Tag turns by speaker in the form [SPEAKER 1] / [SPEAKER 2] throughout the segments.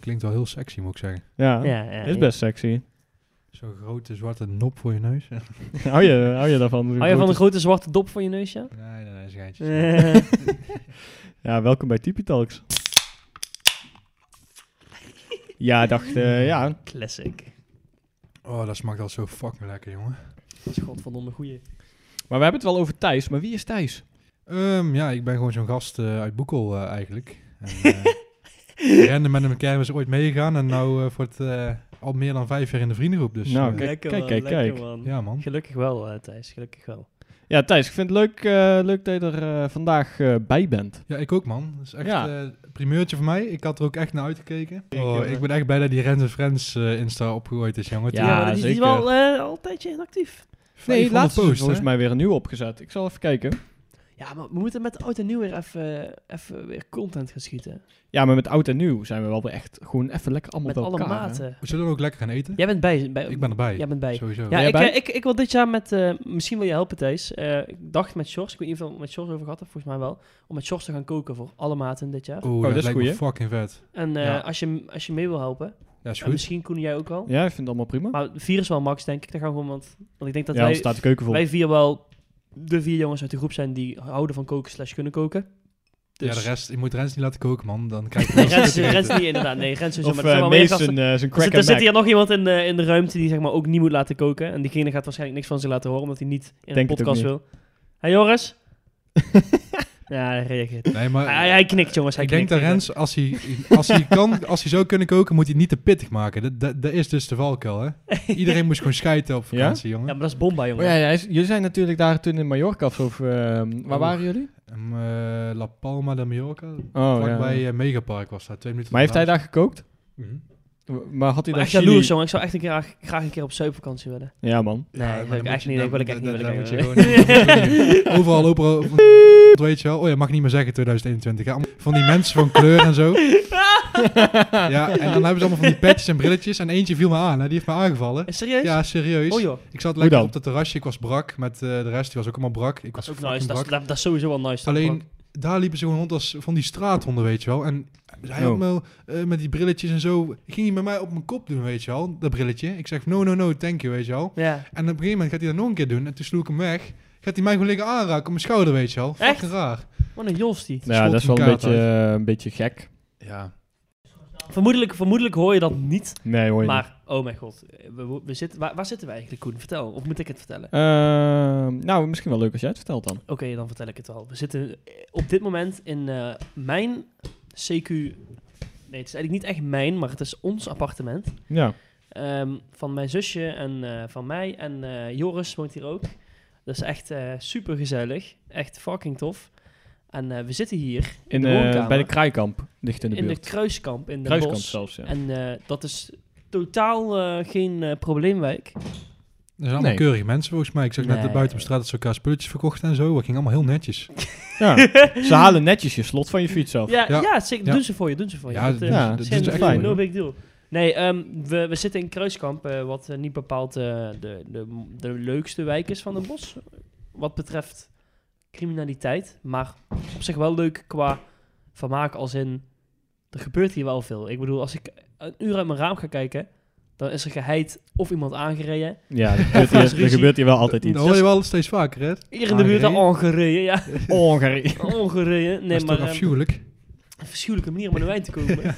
[SPEAKER 1] klinkt wel heel sexy, moet ik zeggen.
[SPEAKER 2] Ja,
[SPEAKER 3] Ja, ja,
[SPEAKER 2] is
[SPEAKER 3] ja.
[SPEAKER 2] best sexy.
[SPEAKER 1] Zo'n grote zwarte nop voor je neus. nee,
[SPEAKER 2] hou, je, hou je daarvan?
[SPEAKER 3] Hou je van de grote zwarte dop van je neus, ja?
[SPEAKER 1] nee, nee, schijntjes.
[SPEAKER 3] Eh,
[SPEAKER 2] Ja, welkom bij Tipi Talks. ja, dacht, eh, ja.
[SPEAKER 3] Classic.
[SPEAKER 1] Oh, dat smaakt al zo fucking lekker, jongen.
[SPEAKER 3] Dat is godverdomme goeie.
[SPEAKER 2] Maar we hebben het wel over Thijs, maar wie is Thijs?
[SPEAKER 1] Ehm, ja, ik ben gewoon zo'n gast eh, uit Boekel eh, eigenlijk. En, eh, we renden met elkaar, we zijn ooit meegegaan en nou eh, voor het eh, al meer dan vijf jaar in de vriendengroep. Dus,
[SPEAKER 2] Nou,
[SPEAKER 1] eh,
[SPEAKER 2] kijk,
[SPEAKER 3] man,
[SPEAKER 2] kijk,
[SPEAKER 3] lekker,
[SPEAKER 2] kijk.
[SPEAKER 3] man.
[SPEAKER 1] ja man.
[SPEAKER 3] Gelukkig wel, eh, Thijs. Gelukkig wel.
[SPEAKER 2] Ja, Thijs, ik vind het leuk, eh, leuk dat je er eh, vandaag eh, bij bent.
[SPEAKER 1] Ja, ik ook man. Dat is echt
[SPEAKER 2] Ja.
[SPEAKER 1] eh, primeurtje voor mij. Ik had er ook echt naar uitgekeken.
[SPEAKER 2] Ik,
[SPEAKER 1] Oh,
[SPEAKER 2] eh,
[SPEAKER 1] ik ben echt blij dat die Rens en Friends eh, Insta opgegooid is, jongen.
[SPEAKER 2] Ja,
[SPEAKER 3] maar die is
[SPEAKER 2] zeker.
[SPEAKER 3] wel eh, al een tijdje inactief.
[SPEAKER 2] Nee,
[SPEAKER 1] 500
[SPEAKER 2] laatst is er
[SPEAKER 1] posts,
[SPEAKER 2] volgens
[SPEAKER 1] hè?
[SPEAKER 2] mij weer een nieuw opgezet. Ik zal even kijken.
[SPEAKER 3] Ja, maar we moeten met de oud en nieuw weer even, eh, even weer content gaan schieten.
[SPEAKER 2] Ja, maar met oud en nieuw zijn we wel weer echt gewoon even lekker allemaal
[SPEAKER 3] Met
[SPEAKER 2] bij
[SPEAKER 3] alle
[SPEAKER 2] elkaar. hè?
[SPEAKER 3] maten.
[SPEAKER 1] We zullen ook lekker gaan eten.
[SPEAKER 3] Jij bent bij. bij
[SPEAKER 1] Ik ben erbij.
[SPEAKER 3] Jij bent bij.
[SPEAKER 1] Sowieso.
[SPEAKER 3] Ja,
[SPEAKER 2] jij
[SPEAKER 3] ik,
[SPEAKER 2] bij?
[SPEAKER 3] eh, ik, ik wil dit jaar met, eh, misschien wil je helpen Thijs. Eh, ik dacht met Sjors, ik weet niet of je het met Sjors over gehad hebt, volgens mij wel. Om met Sjors te gaan koken voor alle maten dit jaar.
[SPEAKER 1] Oh,
[SPEAKER 2] dat
[SPEAKER 1] dat,
[SPEAKER 2] is
[SPEAKER 1] lijkt
[SPEAKER 2] goeie.
[SPEAKER 1] me fucking vet.
[SPEAKER 3] En eh,
[SPEAKER 2] Ja.
[SPEAKER 3] als, je, als je mee wil helpen,
[SPEAKER 1] Ja, is
[SPEAKER 3] en
[SPEAKER 1] goed.
[SPEAKER 3] misschien Koen jij ook wel.
[SPEAKER 2] Ja, ik vind het allemaal prima.
[SPEAKER 3] Maar vier is wel max, denk ik. Dan gaan we gewoon, want, want ik denk dat
[SPEAKER 2] ja, dan
[SPEAKER 3] wij,
[SPEAKER 2] staat de keuken vol.
[SPEAKER 3] wij vier wel de vier jongens uit de groep zijn die houden van koken slash kunnen koken. Dus
[SPEAKER 1] Ja, de rest, je moet Rens niet laten koken, man. Dan krijg je
[SPEAKER 3] Nee,
[SPEAKER 1] wel
[SPEAKER 3] Rens,
[SPEAKER 1] zitten
[SPEAKER 3] Rens
[SPEAKER 1] eten.
[SPEAKER 3] niet inderdaad. Nee, Rens is
[SPEAKER 2] Of
[SPEAKER 3] maar er zijn
[SPEAKER 2] eh
[SPEAKER 3] wel meer
[SPEAKER 2] Mees
[SPEAKER 3] gasten. Dus
[SPEAKER 2] zijn, eh, zijn
[SPEAKER 3] Er
[SPEAKER 2] crack
[SPEAKER 3] zit,
[SPEAKER 2] and
[SPEAKER 3] er
[SPEAKER 2] Mac.
[SPEAKER 3] zit hier nog iemand in de, in de ruimte die zeg maar ook niet moet laten koken. En diegene gaat waarschijnlijk niks van zich laten horen, omdat hij niet in
[SPEAKER 2] Denk
[SPEAKER 3] een
[SPEAKER 2] het ook
[SPEAKER 3] podcast wil. Hé hey, Joris? ja, hij reageert.
[SPEAKER 1] Nee, maar
[SPEAKER 3] Hij, hij knikt jongens, hij
[SPEAKER 1] Eh, ik denk
[SPEAKER 3] knikt.
[SPEAKER 1] dat Rens, als hij, als, hij kan, als hij zou kunnen koken, moet hij het niet te pittig maken. Dat, dat, dat is dus de valkuil, hè? Iedereen moest gewoon scheiden op vakantie,
[SPEAKER 3] Ja,
[SPEAKER 1] jongen.
[SPEAKER 3] maar dat is bomba
[SPEAKER 2] Oh
[SPEAKER 3] jongen.
[SPEAKER 2] ja, ja, is- jullie zijn natuurlijk daar toen in Mallorca of zo, of, ehm,
[SPEAKER 1] Oh.
[SPEAKER 2] waar waren jullie?
[SPEAKER 1] Ehm, eh, La Palma de Mallorca,
[SPEAKER 2] Oh,
[SPEAKER 1] vlakbij eh, Megapark was dat, twee minuten
[SPEAKER 2] Maar heeft hij
[SPEAKER 1] vandaan.
[SPEAKER 2] daar gekookt?
[SPEAKER 1] Mhm.
[SPEAKER 2] W- Maar had hij
[SPEAKER 3] Maar
[SPEAKER 2] daar
[SPEAKER 3] echt jaloers
[SPEAKER 2] chili-
[SPEAKER 3] jongen, ik zou echt een keer, graag, graag een keer op zeepvakantie willen.
[SPEAKER 2] Ja, man.
[SPEAKER 3] Nee,
[SPEAKER 1] Ja,
[SPEAKER 3] wil
[SPEAKER 1] maar
[SPEAKER 3] ik
[SPEAKER 1] dan
[SPEAKER 3] echt
[SPEAKER 1] moet
[SPEAKER 3] niet,
[SPEAKER 1] je-
[SPEAKER 3] ik wil ik
[SPEAKER 1] dan-
[SPEAKER 3] echt niet,
[SPEAKER 1] dan-
[SPEAKER 3] wil ik
[SPEAKER 1] dan
[SPEAKER 3] echt
[SPEAKER 1] moet je gewoon- Overal overal van weet je wel. Oh ja, mag niet meer zeggen 2021. hè. Allemaal Van die mensen van kleur en zo. Ja, en dan hebben ze allemaal van die petjes en brilletjes. En eentje viel me aan, hè. die heeft me aangevallen.
[SPEAKER 3] Eh, Serieus?
[SPEAKER 1] Ja, serieus.
[SPEAKER 3] Oh joh.
[SPEAKER 1] Ik zat
[SPEAKER 2] Hoe
[SPEAKER 1] lekker
[SPEAKER 2] dan?
[SPEAKER 1] op dat terrasje. Ik was brak met eh, de rest. Die was ook allemaal brak. Ik was
[SPEAKER 3] Dat is ook
[SPEAKER 1] fucking
[SPEAKER 3] nice, dat is,
[SPEAKER 1] brak.
[SPEAKER 3] dat, dat is sowieso wel nice. toch,
[SPEAKER 1] Alleen,
[SPEAKER 3] Frank?
[SPEAKER 1] daar liepen ze gewoon rond als van die straathonden, weet je wel. En hij had
[SPEAKER 2] Oh.
[SPEAKER 1] me al, eh, met die brilletjes en zo... Ging hij met mij op mijn kop doen, weet je wel. Dat brilletje. Ik zeg, no, no, no, thank you, weet je wel.
[SPEAKER 3] Ja.
[SPEAKER 1] En op een gegeven moment gaat hij dat nog een keer doen. En toen sloeg ik hem weg. Gaat hij mij gewoon liggen aanraken op mijn schouder, weet je wel.
[SPEAKER 3] Echt?
[SPEAKER 1] Fucking raar.
[SPEAKER 3] Wat een jostie.
[SPEAKER 2] Ja, dat is wel
[SPEAKER 1] Schot
[SPEAKER 2] een
[SPEAKER 1] een kaart
[SPEAKER 2] beetje, eh, een beetje gek.
[SPEAKER 1] Ja.
[SPEAKER 3] Vermoedelijk, vermoedelijk hoor je dat niet.
[SPEAKER 2] Nee, hoor je niet.
[SPEAKER 3] Maar, oh mijn god. We, we- we zitten, waar, waar zitten we eigenlijk, Koen? Vertel. Of moet ik het vertellen?
[SPEAKER 2] Ehm, nou, misschien wel leuk als jij het vertelt dan.
[SPEAKER 3] Oké, dan vertel ik het wel. We zitten eh, op dit moment in eh, mijn CQ... Nee, het is eigenlijk niet echt mijn, maar het is ons appartement.
[SPEAKER 2] Ja.
[SPEAKER 3] Ehm, van mijn zusje en eh, van mij. En eh, Joris woont hier ook. Dat is echt super gezellig. Echt fucking tof. En eh, we zitten hier
[SPEAKER 2] In,
[SPEAKER 3] de
[SPEAKER 2] eh,
[SPEAKER 3] woonkamer.
[SPEAKER 2] bij de Kraaikamp, dicht in
[SPEAKER 3] in
[SPEAKER 2] de
[SPEAKER 3] de,
[SPEAKER 2] buurt.
[SPEAKER 3] Kruiskamp in de
[SPEAKER 2] Kruiskamp
[SPEAKER 3] Bos.
[SPEAKER 2] zelfs, ja.
[SPEAKER 3] En eh, dat is totaal eh, geen eh, probleemwijk.
[SPEAKER 1] Dat zijn allemaal
[SPEAKER 2] Nee.
[SPEAKER 1] keurige mensen volgens mij. Ik zag net
[SPEAKER 3] Nee.
[SPEAKER 1] dat buiten op straat dat ze elkaar spulletjes verkochten en zo. Dat ging allemaal heel netjes.
[SPEAKER 2] Ja. Ze halen netjes je slot van je fiets af.
[SPEAKER 3] Ja, ja.
[SPEAKER 1] Ja.
[SPEAKER 3] zeker.
[SPEAKER 1] Ja.
[SPEAKER 3] Doen ze voor je, doen ze voor je.
[SPEAKER 1] Ja,
[SPEAKER 3] Dat, eh,
[SPEAKER 1] ja,
[SPEAKER 3] is
[SPEAKER 1] dat
[SPEAKER 3] geen-
[SPEAKER 1] is echt
[SPEAKER 2] fijn.
[SPEAKER 3] No big deal. Nee, ehm, we, we zitten in Kruiskamp, eh, wat eh, niet bepaald eh, de, de, de leukste wijk is van het bos. Wat betreft criminaliteit. Maar op zich wel leuk qua vermaak als in... Er gebeurt hier wel veel. Ik bedoel, als ik een uur uit mijn raam ga kijken... dan is er geheid of iemand aangereden.
[SPEAKER 2] Ja, er gebeurt,
[SPEAKER 3] Vast
[SPEAKER 2] hier, er
[SPEAKER 3] ruzie.
[SPEAKER 2] gebeurt hier wel altijd
[SPEAKER 1] Dat
[SPEAKER 2] iets.
[SPEAKER 1] hoor je wel steeds vaker, hè?
[SPEAKER 3] Hier in de buurt
[SPEAKER 1] Aangereden?
[SPEAKER 3] aangereden, ja.
[SPEAKER 2] Ongereden.
[SPEAKER 3] Aangereden. Nee,
[SPEAKER 1] dat is
[SPEAKER 3] maar
[SPEAKER 1] toch
[SPEAKER 3] ehm,
[SPEAKER 1] afschuwelijk?
[SPEAKER 3] een verschuwelijke manier om aan de wijn te komen.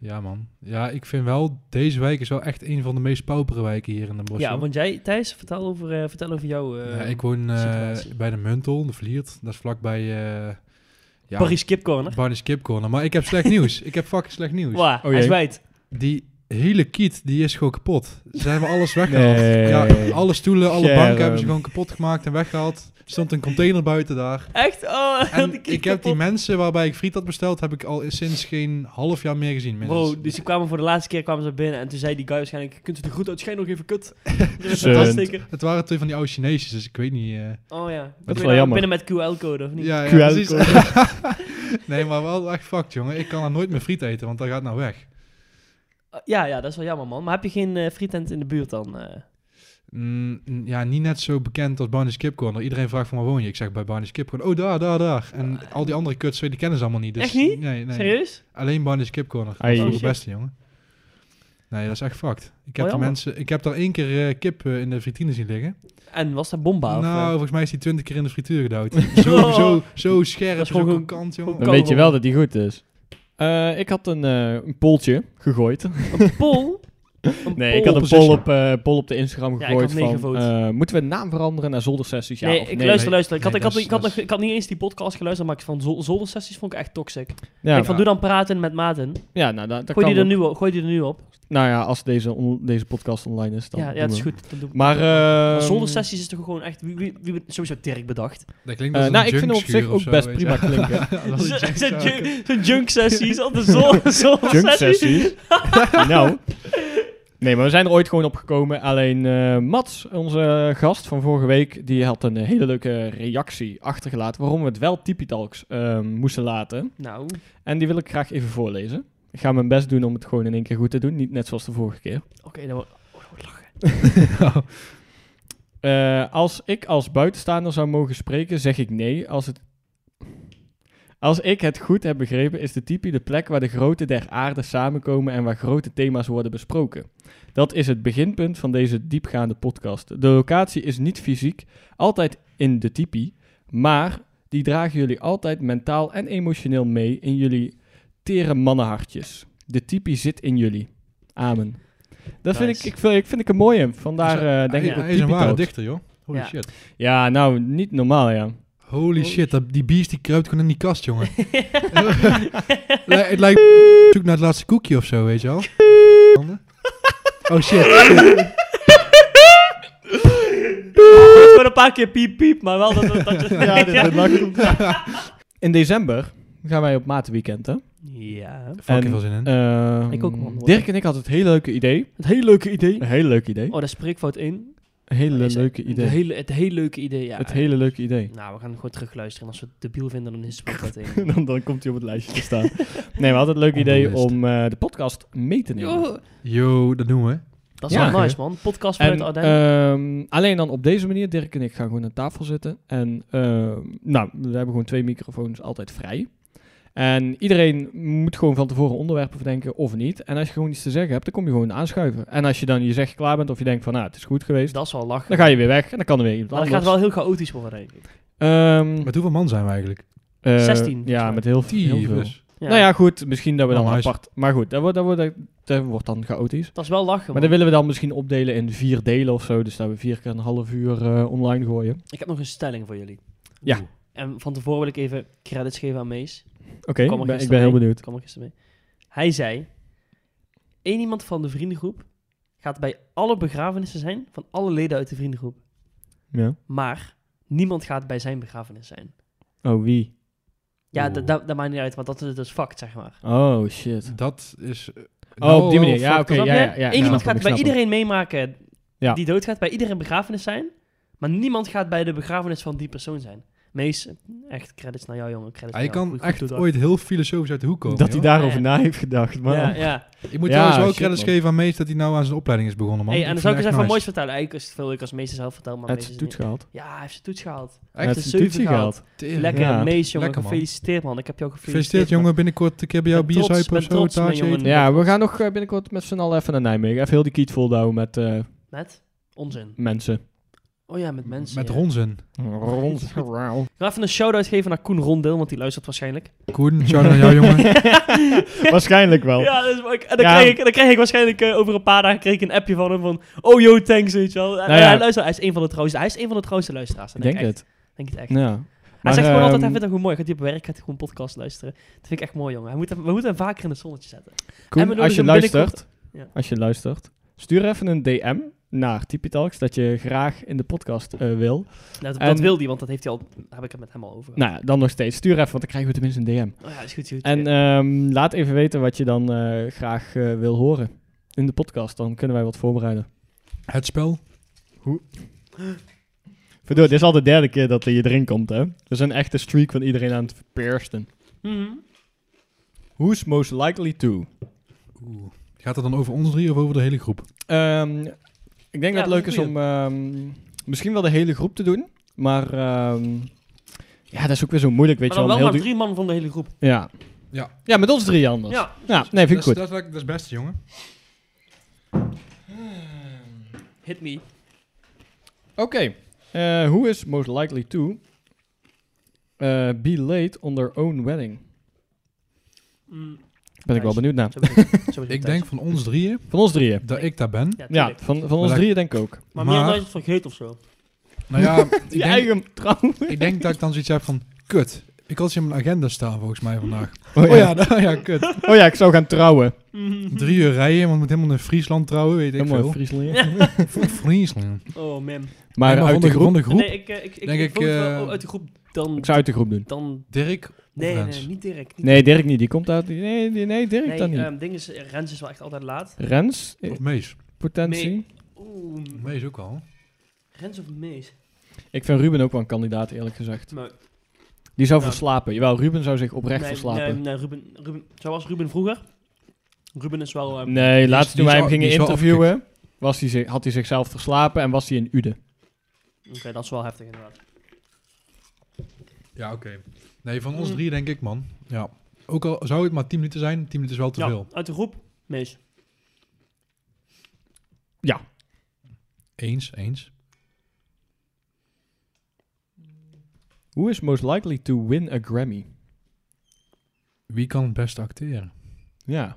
[SPEAKER 1] Ja, man. Ja, ik vind wel, deze wijk is wel echt een van de meest paupere wijken hier in de bos.
[SPEAKER 3] ja, want jij, Thijs, vertel over, eh, vertel over jou... eh,
[SPEAKER 1] ik woon eh,
[SPEAKER 3] situatie.
[SPEAKER 1] bij de Muntel, de Vliert. Dat is vlakbij... eh ja,
[SPEAKER 3] Paris Kipcorner.
[SPEAKER 1] Barney's Kip Corner. Maar ik heb slecht nieuws. Ik heb fucking slecht nieuws.
[SPEAKER 3] Waar?
[SPEAKER 2] Oh
[SPEAKER 3] hij is
[SPEAKER 2] jee.
[SPEAKER 3] wijd.
[SPEAKER 1] Die hele kiet, die is gewoon kapot. Ze hebben alles weggehaald.
[SPEAKER 2] Nee.
[SPEAKER 1] Ja, alle stoelen, alle
[SPEAKER 2] Germ.
[SPEAKER 1] banken hebben ze gewoon kapot gemaakt en weggehaald. Er stond een container buiten daar.
[SPEAKER 3] Echt? Oh,
[SPEAKER 1] En
[SPEAKER 3] die kiet
[SPEAKER 1] ik heb die
[SPEAKER 3] kapot.
[SPEAKER 1] mensen waarbij ik friet had besteld, heb ik al sinds geen half jaar meer gezien. minstens.
[SPEAKER 3] Bro, dus die kwamen voor de laatste keer kwamen ze binnen en toen zei die guy waarschijnlijk, kunt u er goed uit schijnen nog even kut?
[SPEAKER 2] Zunt.
[SPEAKER 3] Fantastisch.
[SPEAKER 1] Het waren twee van die oude Chinezen, dus ik weet niet... eh,
[SPEAKER 3] Oh ja.
[SPEAKER 2] Dat is
[SPEAKER 3] Binnen-
[SPEAKER 2] wel jammer.
[SPEAKER 3] Binnen met QL-code of niet?
[SPEAKER 1] Ja, ja,
[SPEAKER 2] QR
[SPEAKER 1] precies. nee, maar wel echt fucked, jongen. Ik kan er nooit meer friet eten, want dat gaat nou weg.
[SPEAKER 3] Oh, Ja, ja, dat is wel jammer man. Maar heb je geen eh frietent in de buurt dan? eh?
[SPEAKER 1] mm, mm, ja, niet net zo bekend als Barney's Kip Corner. Iedereen vraagt van waar woon je? Ik zeg bij Barney's Kip Corner. Oh, daar, daar, daar. En al die andere kuts, die kennen ze allemaal niet. Dus,
[SPEAKER 3] Ah. Echt niet?
[SPEAKER 1] Nee, nee.
[SPEAKER 3] Serieus?
[SPEAKER 1] Alleen Barney's Kip Corner. Dat
[SPEAKER 2] Ai.
[SPEAKER 1] is wel
[SPEAKER 3] Oh,
[SPEAKER 1] de
[SPEAKER 3] shit.
[SPEAKER 1] beste, jongen. Nee, dat is echt fucked. Ik heb, die
[SPEAKER 3] jammer.
[SPEAKER 1] mensen, ik heb daar één keer eh, kip eh, in de frituur zien liggen.
[SPEAKER 3] En was dat bomba? of,
[SPEAKER 1] nou,
[SPEAKER 3] eh?
[SPEAKER 1] volgens mij is die twintig keer in de frituur gedood. zo, zo, zo scherp,
[SPEAKER 3] Oh. Dat is
[SPEAKER 1] zo
[SPEAKER 3] gewoon-
[SPEAKER 1] kant,
[SPEAKER 3] gewoon
[SPEAKER 1] jongen.
[SPEAKER 2] Dan
[SPEAKER 3] Kan
[SPEAKER 2] weet je
[SPEAKER 3] wel.
[SPEAKER 2] wel dat die goed is. Eh, ik had een, eh, een poltje gegooid.
[SPEAKER 3] eh, Een pol? Een
[SPEAKER 2] Nee, ik
[SPEAKER 3] pol?
[SPEAKER 2] had een
[SPEAKER 1] Opposition.
[SPEAKER 2] poll op, eh, poll op de Instagram
[SPEAKER 3] Ja, ik
[SPEAKER 2] gegooid
[SPEAKER 3] had nee
[SPEAKER 2] van...
[SPEAKER 3] gevoten.
[SPEAKER 2] eh, moeten we de naam veranderen naar zoldersessies? Ja
[SPEAKER 3] nee,
[SPEAKER 2] of
[SPEAKER 3] ik
[SPEAKER 2] nee?
[SPEAKER 3] luister, luister. Ik had,
[SPEAKER 1] Nee,
[SPEAKER 3] ik, had,
[SPEAKER 1] dat is-
[SPEAKER 3] ik, had,
[SPEAKER 1] dat is-
[SPEAKER 3] nog- ik had niet eens die podcast geluisterd, maar ik vond zol- zoldersessies vond ik echt toxic.
[SPEAKER 2] Ja,
[SPEAKER 3] ik van, doe dan praten met maten.
[SPEAKER 2] ja, nou, dat, dat
[SPEAKER 3] Gooi
[SPEAKER 2] kan
[SPEAKER 3] die,
[SPEAKER 2] wel.
[SPEAKER 3] er nu op, gooi die er nu op.
[SPEAKER 2] Nou ja, als deze, on- deze podcast online is, dan
[SPEAKER 3] ja, ja,
[SPEAKER 2] doen
[SPEAKER 3] het is
[SPEAKER 2] we.
[SPEAKER 3] goed. Dat doen we.
[SPEAKER 2] Maar...
[SPEAKER 3] Maar
[SPEAKER 2] eh
[SPEAKER 3] zoldersessies is toch gewoon echt... Wie, wie, wie, sowieso Dirk bedacht.
[SPEAKER 1] Dat klinkt
[SPEAKER 2] eh,
[SPEAKER 1] als
[SPEAKER 2] nou,
[SPEAKER 1] een
[SPEAKER 2] ik vind hem op zich
[SPEAKER 1] junkschuur of
[SPEAKER 2] ook
[SPEAKER 1] zo,
[SPEAKER 2] best
[SPEAKER 1] weet je
[SPEAKER 2] prima
[SPEAKER 1] wel.
[SPEAKER 2] klinken.
[SPEAKER 1] Dat is een
[SPEAKER 3] Zijn
[SPEAKER 1] junkschuur.
[SPEAKER 3] junk- zijn junk sessies, altijd zol-
[SPEAKER 2] Junk
[SPEAKER 3] zoldersessies.
[SPEAKER 2] sessies. nou. Nee, maar we zijn er ooit gewoon op gekomen. Alleen eh, Mats, onze gast van vorige week, die had een hele leuke reactie achtergelaten waarom we het wel Tipitalks eh, moesten laten.
[SPEAKER 3] Nou, oké.
[SPEAKER 2] En die wil ik graag even voorlezen. Ik ga mijn best doen om het gewoon in één keer goed te doen, niet net zoals de vorige keer.
[SPEAKER 3] dan wordt... oh, dat wordt lachen.
[SPEAKER 2] Eh, als ik als buitenstaander zou mogen spreken, zeg ik nee. Als, het... als ik het goed heb begrepen, is de tipi de plek waar de grote der aarde samenkomen en waar grote thema's worden besproken. Dat is het beginpunt van deze diepgaande podcast. De locatie is niet fysiek, altijd in de tipi, maar die dragen jullie altijd mentaal en emotioneel mee in jullie tere mannenhartjes. De tipi zit in jullie. Amen. Dat vind, ik,
[SPEAKER 3] Nice.
[SPEAKER 2] ik, vind, ik vind ik een mooie. Vandaar eh, denk
[SPEAKER 1] Hij-
[SPEAKER 2] ik
[SPEAKER 1] Hij is een ware
[SPEAKER 2] op dicht.
[SPEAKER 1] dichter, joh. Holy
[SPEAKER 3] Ja.
[SPEAKER 1] shit.
[SPEAKER 2] Ja, nou, niet normaal, ja.
[SPEAKER 1] Holy
[SPEAKER 3] Holy
[SPEAKER 1] shit, dat, die biest die kruipt gewoon in die kast, jongen. Lij- Het lijkt zoek naar het laatste koekje of zo, weet je wel. Oh shit.
[SPEAKER 3] Het wordt een paar keer piep piep, maar wel dat... dat, dat je- ja,
[SPEAKER 2] In december gaan wij op matenweekend, hè?
[SPEAKER 1] Fucking veel zin
[SPEAKER 3] eh,
[SPEAKER 1] in.
[SPEAKER 2] Ehm,
[SPEAKER 3] Ik ook, man.
[SPEAKER 2] Dirk en ik hadden het hele leuke idee.
[SPEAKER 3] Het hele leuke idee.
[SPEAKER 2] Een hele leuk idee.
[SPEAKER 3] Oh, daar spreekfout in.
[SPEAKER 2] Een hele
[SPEAKER 3] Is-
[SPEAKER 2] leuke
[SPEAKER 3] de
[SPEAKER 2] idee.
[SPEAKER 3] hele, het hele leuke idee, ja.
[SPEAKER 2] het hele leuke idee.
[SPEAKER 3] Nou, we gaan gewoon terugluisteren. Als we het debiel vinden, dan is het spreekfout in.
[SPEAKER 2] dan, dan komt hij op het lijstje te staan. nee, we hadden het leuke idee
[SPEAKER 1] Onbewust.
[SPEAKER 2] om eh, de podcast mee te nemen.
[SPEAKER 3] Yo,
[SPEAKER 1] Yo, dat doen we.
[SPEAKER 3] dat is
[SPEAKER 2] Ja.
[SPEAKER 3] wel nice, man. Podcast vanuit
[SPEAKER 2] En,
[SPEAKER 3] Ardennen.
[SPEAKER 2] ehm, alleen dan op deze manier, Dirk en ik gaan gewoon aan tafel zitten. En ehm, nou, we hebben gewoon twee microfoons altijd vrij. En iedereen moet gewoon van tevoren onderwerpen verdenken of niet. En als je gewoon iets te zeggen hebt, dan kom je gewoon aanschuiven. En als je dan je zegt klaar bent of je denkt van nou, het is goed geweest,
[SPEAKER 3] dat is wel lachen.
[SPEAKER 2] dan ga je weer weg en dan kan er weer iemand
[SPEAKER 3] maar dat
[SPEAKER 2] anders.
[SPEAKER 3] gaat wel heel chaotisch worden, denk ik.
[SPEAKER 2] Ehm,
[SPEAKER 1] Met hoeveel man zijn we eigenlijk?
[SPEAKER 2] eh,
[SPEAKER 3] 16 volgens
[SPEAKER 2] Ja,
[SPEAKER 3] mij.
[SPEAKER 2] met heel, heel
[SPEAKER 1] Tien
[SPEAKER 2] veel.
[SPEAKER 1] plus.
[SPEAKER 3] Ja.
[SPEAKER 2] Nou ja, goed, misschien dat we
[SPEAKER 1] Oh,
[SPEAKER 2] dan
[SPEAKER 1] nice.
[SPEAKER 2] apart... Maar goed, dat wordt, dat, wordt, dat wordt dan chaotisch.
[SPEAKER 3] Dat is wel lachen,
[SPEAKER 2] Maar
[SPEAKER 3] man.
[SPEAKER 2] dat willen we dan misschien opdelen in vier delen of zo. Dus dat we vier keer een half uur eh, online gooien.
[SPEAKER 3] Ik heb nog een stelling voor jullie.
[SPEAKER 2] Ja.
[SPEAKER 1] Oeh.
[SPEAKER 3] En van tevoren wil ik even credits geven aan Mees.
[SPEAKER 2] Oké,
[SPEAKER 3] Kwam er
[SPEAKER 2] ik ben, ik
[SPEAKER 3] gisteren
[SPEAKER 2] ben heel
[SPEAKER 3] mee.
[SPEAKER 2] benieuwd.
[SPEAKER 3] Kwam er gisteren mee. Hij zei... één iemand van de vriendengroep gaat bij alle begrafenissen zijn van alle leden uit de vriendengroep.
[SPEAKER 2] Ja.
[SPEAKER 3] Maar niemand gaat bij zijn begrafenis zijn.
[SPEAKER 2] Oh, wie?
[SPEAKER 3] Ja,
[SPEAKER 1] Oeh.
[SPEAKER 3] dat dat- dat maakt niet uit, want dat is dus fact, zeg maar.
[SPEAKER 2] Oh, shit.
[SPEAKER 1] Dat is... eh,
[SPEAKER 2] Oh,
[SPEAKER 1] nou
[SPEAKER 2] op die
[SPEAKER 1] wel
[SPEAKER 2] manier. Ja,
[SPEAKER 1] fucked
[SPEAKER 2] oké.
[SPEAKER 3] Snap
[SPEAKER 2] ja,
[SPEAKER 3] je?
[SPEAKER 2] ja, ja,
[SPEAKER 3] Eén
[SPEAKER 2] ik snap
[SPEAKER 3] iemand
[SPEAKER 2] hem,
[SPEAKER 3] gaat
[SPEAKER 2] ik
[SPEAKER 3] bij
[SPEAKER 2] snap
[SPEAKER 3] iedereen meemaken
[SPEAKER 2] Ja.
[SPEAKER 3] die doodgaat, bij iedereen begrafenis zijn. Maar niemand gaat bij de begrafenis van die persoon zijn. Mees, echt credits naar jou, jongen. Credits
[SPEAKER 1] Hij
[SPEAKER 3] naar jou.
[SPEAKER 1] kan
[SPEAKER 3] Goed, goed
[SPEAKER 1] echt
[SPEAKER 3] doordacht.
[SPEAKER 1] ooit heel filosofisch uit de hoek komen.
[SPEAKER 2] Dat hij
[SPEAKER 1] joh.
[SPEAKER 2] daarover na heeft gedacht. Maar
[SPEAKER 3] Ja, ja.
[SPEAKER 1] Ik moet
[SPEAKER 2] Ja,
[SPEAKER 1] trouwens wel
[SPEAKER 2] shit,
[SPEAKER 1] credits
[SPEAKER 2] man.
[SPEAKER 1] geven aan Mees dat hij nou aan zijn opleiding is begonnen, man.
[SPEAKER 3] Hey, en dan zou ik
[SPEAKER 1] vind
[SPEAKER 3] eens
[SPEAKER 1] het
[SPEAKER 3] even moois
[SPEAKER 1] echt
[SPEAKER 3] vertellen. Eigenlijk is het veel leuker als Mees het zelf vertelt, maar
[SPEAKER 2] Hij heeft
[SPEAKER 3] Mees
[SPEAKER 2] zijn
[SPEAKER 3] is
[SPEAKER 2] toets
[SPEAKER 3] niet-
[SPEAKER 2] gehaald.
[SPEAKER 3] Ja, hij heeft zijn toets gehaald.
[SPEAKER 2] Hij
[SPEAKER 3] heeft
[SPEAKER 2] heeft
[SPEAKER 3] een
[SPEAKER 2] zijn toets
[SPEAKER 3] zeven
[SPEAKER 2] gehaald.
[SPEAKER 1] nice.
[SPEAKER 3] Lekker,
[SPEAKER 2] Ja.
[SPEAKER 3] Mees, jongen.
[SPEAKER 1] Lekker, man.
[SPEAKER 3] Gefeliciteerd, man. Ik heb jou gefeliciteerd.
[SPEAKER 1] Gefeliciteerd, jongen. Binnenkort een keer bij jou
[SPEAKER 3] Ben trots,
[SPEAKER 1] bierzuipen of
[SPEAKER 3] ben
[SPEAKER 1] zo.
[SPEAKER 3] trots, mijn
[SPEAKER 1] Taartje
[SPEAKER 3] jongen.
[SPEAKER 1] eten.
[SPEAKER 2] Ja, we gaan nog eh, binnenkort met z'n allen even naar Nijmegen. Even heel die kiet volhouden met eh,
[SPEAKER 3] man. Met? Onzin.
[SPEAKER 2] mensen.
[SPEAKER 3] Oh ja, met mensen.
[SPEAKER 1] Met
[SPEAKER 3] ja.
[SPEAKER 1] Ronzen.
[SPEAKER 2] Rond.
[SPEAKER 3] Ik wil even een shout-out geven naar Koen Rondeel, want die luistert waarschijnlijk.
[SPEAKER 1] Koen, shout out naar jou, jongen.
[SPEAKER 2] Waarschijnlijk wel.
[SPEAKER 3] Ja, dat is waar. En dan,
[SPEAKER 2] Ja.
[SPEAKER 3] Kreeg ik, dan kreeg ik waarschijnlijk eh, over een paar dagen kreeg ik een appje van hem van... Oh, yo, thanks, weet je wel. En-
[SPEAKER 2] Nou
[SPEAKER 3] en
[SPEAKER 2] ja.
[SPEAKER 3] hij, luistert, hij is een van de trouwste, hij is een van de trouwste
[SPEAKER 2] Ik
[SPEAKER 3] luisteraars. Dat
[SPEAKER 2] denk
[SPEAKER 3] ik echt.
[SPEAKER 2] het.
[SPEAKER 3] Denk het echt.
[SPEAKER 2] Ja.
[SPEAKER 3] hij
[SPEAKER 2] Maar,
[SPEAKER 3] zegt gewoon altijd, hij
[SPEAKER 2] ehm,
[SPEAKER 3] vindt het gewoon mooi. Gaat hij op werk, gaat hij gewoon podcast luisteren. Dat vind ik echt mooi, jongen. Hij moet hem, we moeten hem vaker in het zonnetje zetten.
[SPEAKER 2] Koen,
[SPEAKER 3] En we
[SPEAKER 2] als je
[SPEAKER 3] nodigen hem
[SPEAKER 2] luistert,
[SPEAKER 3] binnenkort-
[SPEAKER 2] als je luistert, stuur even een DM naar Tipitalks dat je graag in de podcast eh, wil.
[SPEAKER 3] Nou, dat,
[SPEAKER 2] En-
[SPEAKER 3] dat wil hij, want dat heeft hij al, heb ik het met hem al over. gehad.
[SPEAKER 2] Nou ja, dan nog steeds. Stuur even, want dan krijgen we tenminste een DM.
[SPEAKER 3] Oh ja, is goed, is goed.
[SPEAKER 2] En
[SPEAKER 3] Oké.
[SPEAKER 2] ehm, laat even weten wat je dan eh, graag eh, wil horen in de podcast. Dan kunnen wij wat voorbereiden.
[SPEAKER 1] Het spel.
[SPEAKER 2] Verdoor, dit is al de derde keer dat je erin komt, hè? We zijn echt de streak van iedereen aan het verpersten.
[SPEAKER 3] Mhm.
[SPEAKER 2] Who's most likely to?
[SPEAKER 1] Oeh. Gaat het dan over ons drie of over de hele groep?
[SPEAKER 2] Ehm, Ik denk
[SPEAKER 3] Ja,
[SPEAKER 2] dat het leuk
[SPEAKER 3] dat is
[SPEAKER 2] is
[SPEAKER 3] een
[SPEAKER 2] om ehm, misschien wel de hele groep te doen. Maar ehm, ja, dat is ook weer zo moeilijk, weet
[SPEAKER 3] maar
[SPEAKER 2] je wel.
[SPEAKER 3] dan wel
[SPEAKER 2] om
[SPEAKER 3] maar
[SPEAKER 2] heel
[SPEAKER 3] drie man van de hele groep.
[SPEAKER 2] du- ja.
[SPEAKER 1] Ja.
[SPEAKER 2] ja, met ons drie anders.
[SPEAKER 3] Ja,
[SPEAKER 2] Ja, nee, vind
[SPEAKER 1] dat,
[SPEAKER 2] ik goed.
[SPEAKER 1] is, dat, is, dat is best, jongen.
[SPEAKER 3] hit me.
[SPEAKER 2] Oké. Eh, who is most likely to eh, be late on their own wedding?
[SPEAKER 3] Mm,
[SPEAKER 2] Ben ik wel
[SPEAKER 3] Thijs.
[SPEAKER 2] benieuwd naar.
[SPEAKER 3] zo bedoel ik- zo bedoel
[SPEAKER 1] Ik
[SPEAKER 3] Thijs.
[SPEAKER 1] denk van ons drieën
[SPEAKER 2] Van ons drieën.
[SPEAKER 1] dat ik daar ben.
[SPEAKER 2] Ja,
[SPEAKER 3] tuurlijk.
[SPEAKER 2] van, van ons
[SPEAKER 1] Maar
[SPEAKER 2] drieën denk ik ook.
[SPEAKER 3] Maar,
[SPEAKER 1] Maar-
[SPEAKER 3] meer dan is het vergeten of zo.
[SPEAKER 1] Nou ja, ik
[SPEAKER 2] Je
[SPEAKER 1] denk,
[SPEAKER 2] eigen trouw.
[SPEAKER 1] ik denk dat ik dan zoiets heb van... Kut, ik had ze in mijn agenda staan volgens mij vandaag.
[SPEAKER 2] Oh
[SPEAKER 1] Oh ja, oh ja kut.
[SPEAKER 2] Oh ja, ik zou gaan trouwen.
[SPEAKER 3] Mhm.
[SPEAKER 1] Drie uur rijden, want ik moet helemaal naar Friesland trouwen, weet ik
[SPEAKER 2] Helemaal
[SPEAKER 1] veel.
[SPEAKER 2] Friesland.
[SPEAKER 1] Friesland.
[SPEAKER 3] Oh man.
[SPEAKER 2] Maar,
[SPEAKER 1] Nee,
[SPEAKER 2] uit de groep.
[SPEAKER 1] Van de groep,
[SPEAKER 3] Nee, ik, eh, ik, ik,
[SPEAKER 1] Denk
[SPEAKER 3] ik
[SPEAKER 1] ik,
[SPEAKER 3] vond het wel-
[SPEAKER 1] eh,
[SPEAKER 3] oh, uit de groep dan...
[SPEAKER 2] Ik zou uit de groep doen.
[SPEAKER 3] dan
[SPEAKER 1] Dirk,
[SPEAKER 3] nee, nee,
[SPEAKER 1] Rens.
[SPEAKER 3] nee, niet Dirk. Niet
[SPEAKER 2] Nee, Dirk niet. Die komt uit. Nee, nee, nee Dirk
[SPEAKER 3] nee,
[SPEAKER 2] dan niet.
[SPEAKER 3] ehm, ding is, eh, Rens is wel echt altijd laat.
[SPEAKER 2] Rens, eh,
[SPEAKER 1] of Mees.
[SPEAKER 2] potentie.
[SPEAKER 3] Nee. Oeh,
[SPEAKER 1] Mees ook al.
[SPEAKER 3] Rens of Mees?
[SPEAKER 2] Ik vind Ruben ook wel een kandidaat, eerlijk gezegd.
[SPEAKER 3] Maar,
[SPEAKER 2] Die zou
[SPEAKER 3] Nou.
[SPEAKER 2] verslapen. Jawel, Ruben zou zich oprecht
[SPEAKER 3] nee,
[SPEAKER 2] verslapen.
[SPEAKER 3] Nee,
[SPEAKER 2] Nee, ehm,
[SPEAKER 3] nee, Ruben, Ruben, zoals Ruben vroeger. Ruben is wel... ehm,
[SPEAKER 1] is-
[SPEAKER 2] laatst
[SPEAKER 1] die
[SPEAKER 2] toen wij
[SPEAKER 1] is
[SPEAKER 2] hem
[SPEAKER 1] al-
[SPEAKER 2] gingen
[SPEAKER 1] die is wel
[SPEAKER 2] interviewen, was hij, zich- had hij zichzelf verslapen en was hij in Ude.
[SPEAKER 3] Oké, dat is wel heftig inderdaad.
[SPEAKER 1] Ja, oké. Nee, van ons
[SPEAKER 3] Mm.
[SPEAKER 1] drie denk ik, man. Ja. Ook al zou het maar 10 minuten zijn, 10 minuten is wel te
[SPEAKER 3] ja,
[SPEAKER 1] veel.
[SPEAKER 3] uit de groep, Mees.
[SPEAKER 1] Eens, eens.
[SPEAKER 2] Who is most likely to win a Grammy?
[SPEAKER 1] Wie kan het best acteren?
[SPEAKER 2] Ja.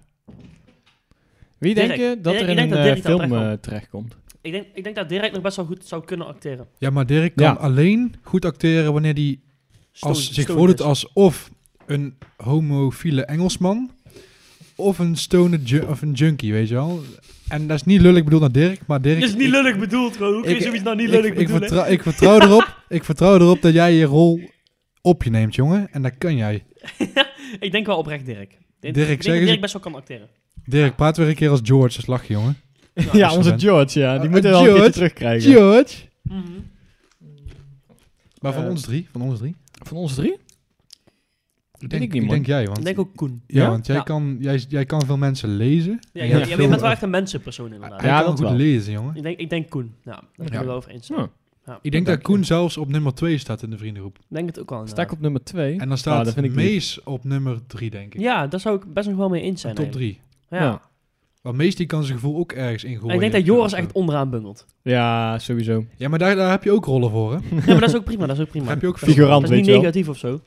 [SPEAKER 2] Wie
[SPEAKER 3] Dirk.
[SPEAKER 2] denk je dat
[SPEAKER 3] Ik
[SPEAKER 2] er in
[SPEAKER 3] denk- ik denk
[SPEAKER 2] een
[SPEAKER 3] dat
[SPEAKER 2] eh,
[SPEAKER 3] Dirk daar
[SPEAKER 2] film
[SPEAKER 3] terechtkomt.
[SPEAKER 2] eh, terechtkomt?
[SPEAKER 3] Ik denk, ik denk dat Dirk nog best wel goed zou kunnen acteren.
[SPEAKER 1] Ja, maar Dirk kan
[SPEAKER 2] Ja.
[SPEAKER 1] alleen goed acteren wanneer hij als,
[SPEAKER 3] Stoned-
[SPEAKER 1] zich
[SPEAKER 3] stoned
[SPEAKER 1] voordoet
[SPEAKER 3] is.
[SPEAKER 1] als of een homofiele Engelsman of een stoner ju- of een junkie, weet je wel. En dat is niet lullig bedoeld naar Dirk, maar Dirk...
[SPEAKER 3] Dit is niet lullig bedoeld gewoon. Hoe kun je
[SPEAKER 1] ik-
[SPEAKER 3] zoiets nou niet
[SPEAKER 1] ik-
[SPEAKER 3] lullig
[SPEAKER 1] ik,
[SPEAKER 3] bedoelen?
[SPEAKER 1] vertrouw, ik, vertrouw erop, ik vertrouw erop dat jij je rol op je neemt, jongen. En dat kan jij.
[SPEAKER 3] ik denk wel oprecht Dirk. Ik denk
[SPEAKER 1] Dirk,
[SPEAKER 3] dat
[SPEAKER 1] zeg eens-
[SPEAKER 3] Dirk best wel kan acteren.
[SPEAKER 1] Dirk, praat weer een keer als George, als lach, jongen.
[SPEAKER 2] Ja,
[SPEAKER 1] dat is
[SPEAKER 2] onze
[SPEAKER 1] een-
[SPEAKER 2] George, ja. Die
[SPEAKER 1] Eh,
[SPEAKER 2] moeten we wel een
[SPEAKER 1] George?
[SPEAKER 2] keertje terugkrijgen.
[SPEAKER 1] George!
[SPEAKER 3] Mhm.
[SPEAKER 1] Maar van
[SPEAKER 2] Eh,
[SPEAKER 1] ons drie, van ons drie.
[SPEAKER 2] Van ons drie?
[SPEAKER 1] Ik
[SPEAKER 2] ik
[SPEAKER 1] denk,
[SPEAKER 2] niet,
[SPEAKER 1] ik
[SPEAKER 2] man.
[SPEAKER 1] denk jij, want...
[SPEAKER 3] Ik denk ook Koen.
[SPEAKER 1] ja,
[SPEAKER 2] Ja?
[SPEAKER 1] want jij,
[SPEAKER 3] Ja.
[SPEAKER 1] Kan, jij, jij kan veel mensen lezen.
[SPEAKER 3] Ja,
[SPEAKER 1] En
[SPEAKER 3] ja,
[SPEAKER 1] hebt
[SPEAKER 3] ja, maar
[SPEAKER 1] veel-
[SPEAKER 3] je bent wel echt een mensenpersoon inderdaad.
[SPEAKER 1] Hij
[SPEAKER 2] Ja,
[SPEAKER 1] kan
[SPEAKER 2] dat
[SPEAKER 1] goed
[SPEAKER 2] wel.
[SPEAKER 1] lezen, jongen.
[SPEAKER 3] Ik denk, ik denk Koen. Ja, daar ben ik
[SPEAKER 1] Ja.
[SPEAKER 3] wel over eens.
[SPEAKER 2] Oh,
[SPEAKER 1] Ik denk dat
[SPEAKER 2] Dank je.
[SPEAKER 1] Koen zelfs op nummer 2 staat in de vriendengroep.
[SPEAKER 3] Ik denk het ook
[SPEAKER 2] sta
[SPEAKER 3] wel.
[SPEAKER 2] ik
[SPEAKER 3] inderdaad.
[SPEAKER 2] op nummer twee.
[SPEAKER 1] En dan
[SPEAKER 2] Nou,
[SPEAKER 1] staat
[SPEAKER 2] dat vind ik lief.
[SPEAKER 1] Mees op nummer 3, denk ik.
[SPEAKER 3] Ja, daar zou ik best nog wel mee eens zijn.
[SPEAKER 1] En top
[SPEAKER 3] eigenlijk.
[SPEAKER 1] 3.
[SPEAKER 3] Ja.
[SPEAKER 2] Ja.
[SPEAKER 1] Want Mees die kan zijn gevoel ook ergens ingooien.
[SPEAKER 3] En ik denk dat
[SPEAKER 1] Of
[SPEAKER 3] Joris
[SPEAKER 1] zo.
[SPEAKER 3] echt onderaan bungelt.
[SPEAKER 2] Ja, sowieso.
[SPEAKER 1] Ja, maar daar, daar heb je ook rollen voor, hè?
[SPEAKER 3] Ja, maar dat is ook prima. Dat is ook prima.
[SPEAKER 1] Daar heb je ook veel-
[SPEAKER 2] Figurant,
[SPEAKER 3] dat is
[SPEAKER 2] weet
[SPEAKER 3] niet
[SPEAKER 2] je wel.
[SPEAKER 3] negatief of zo.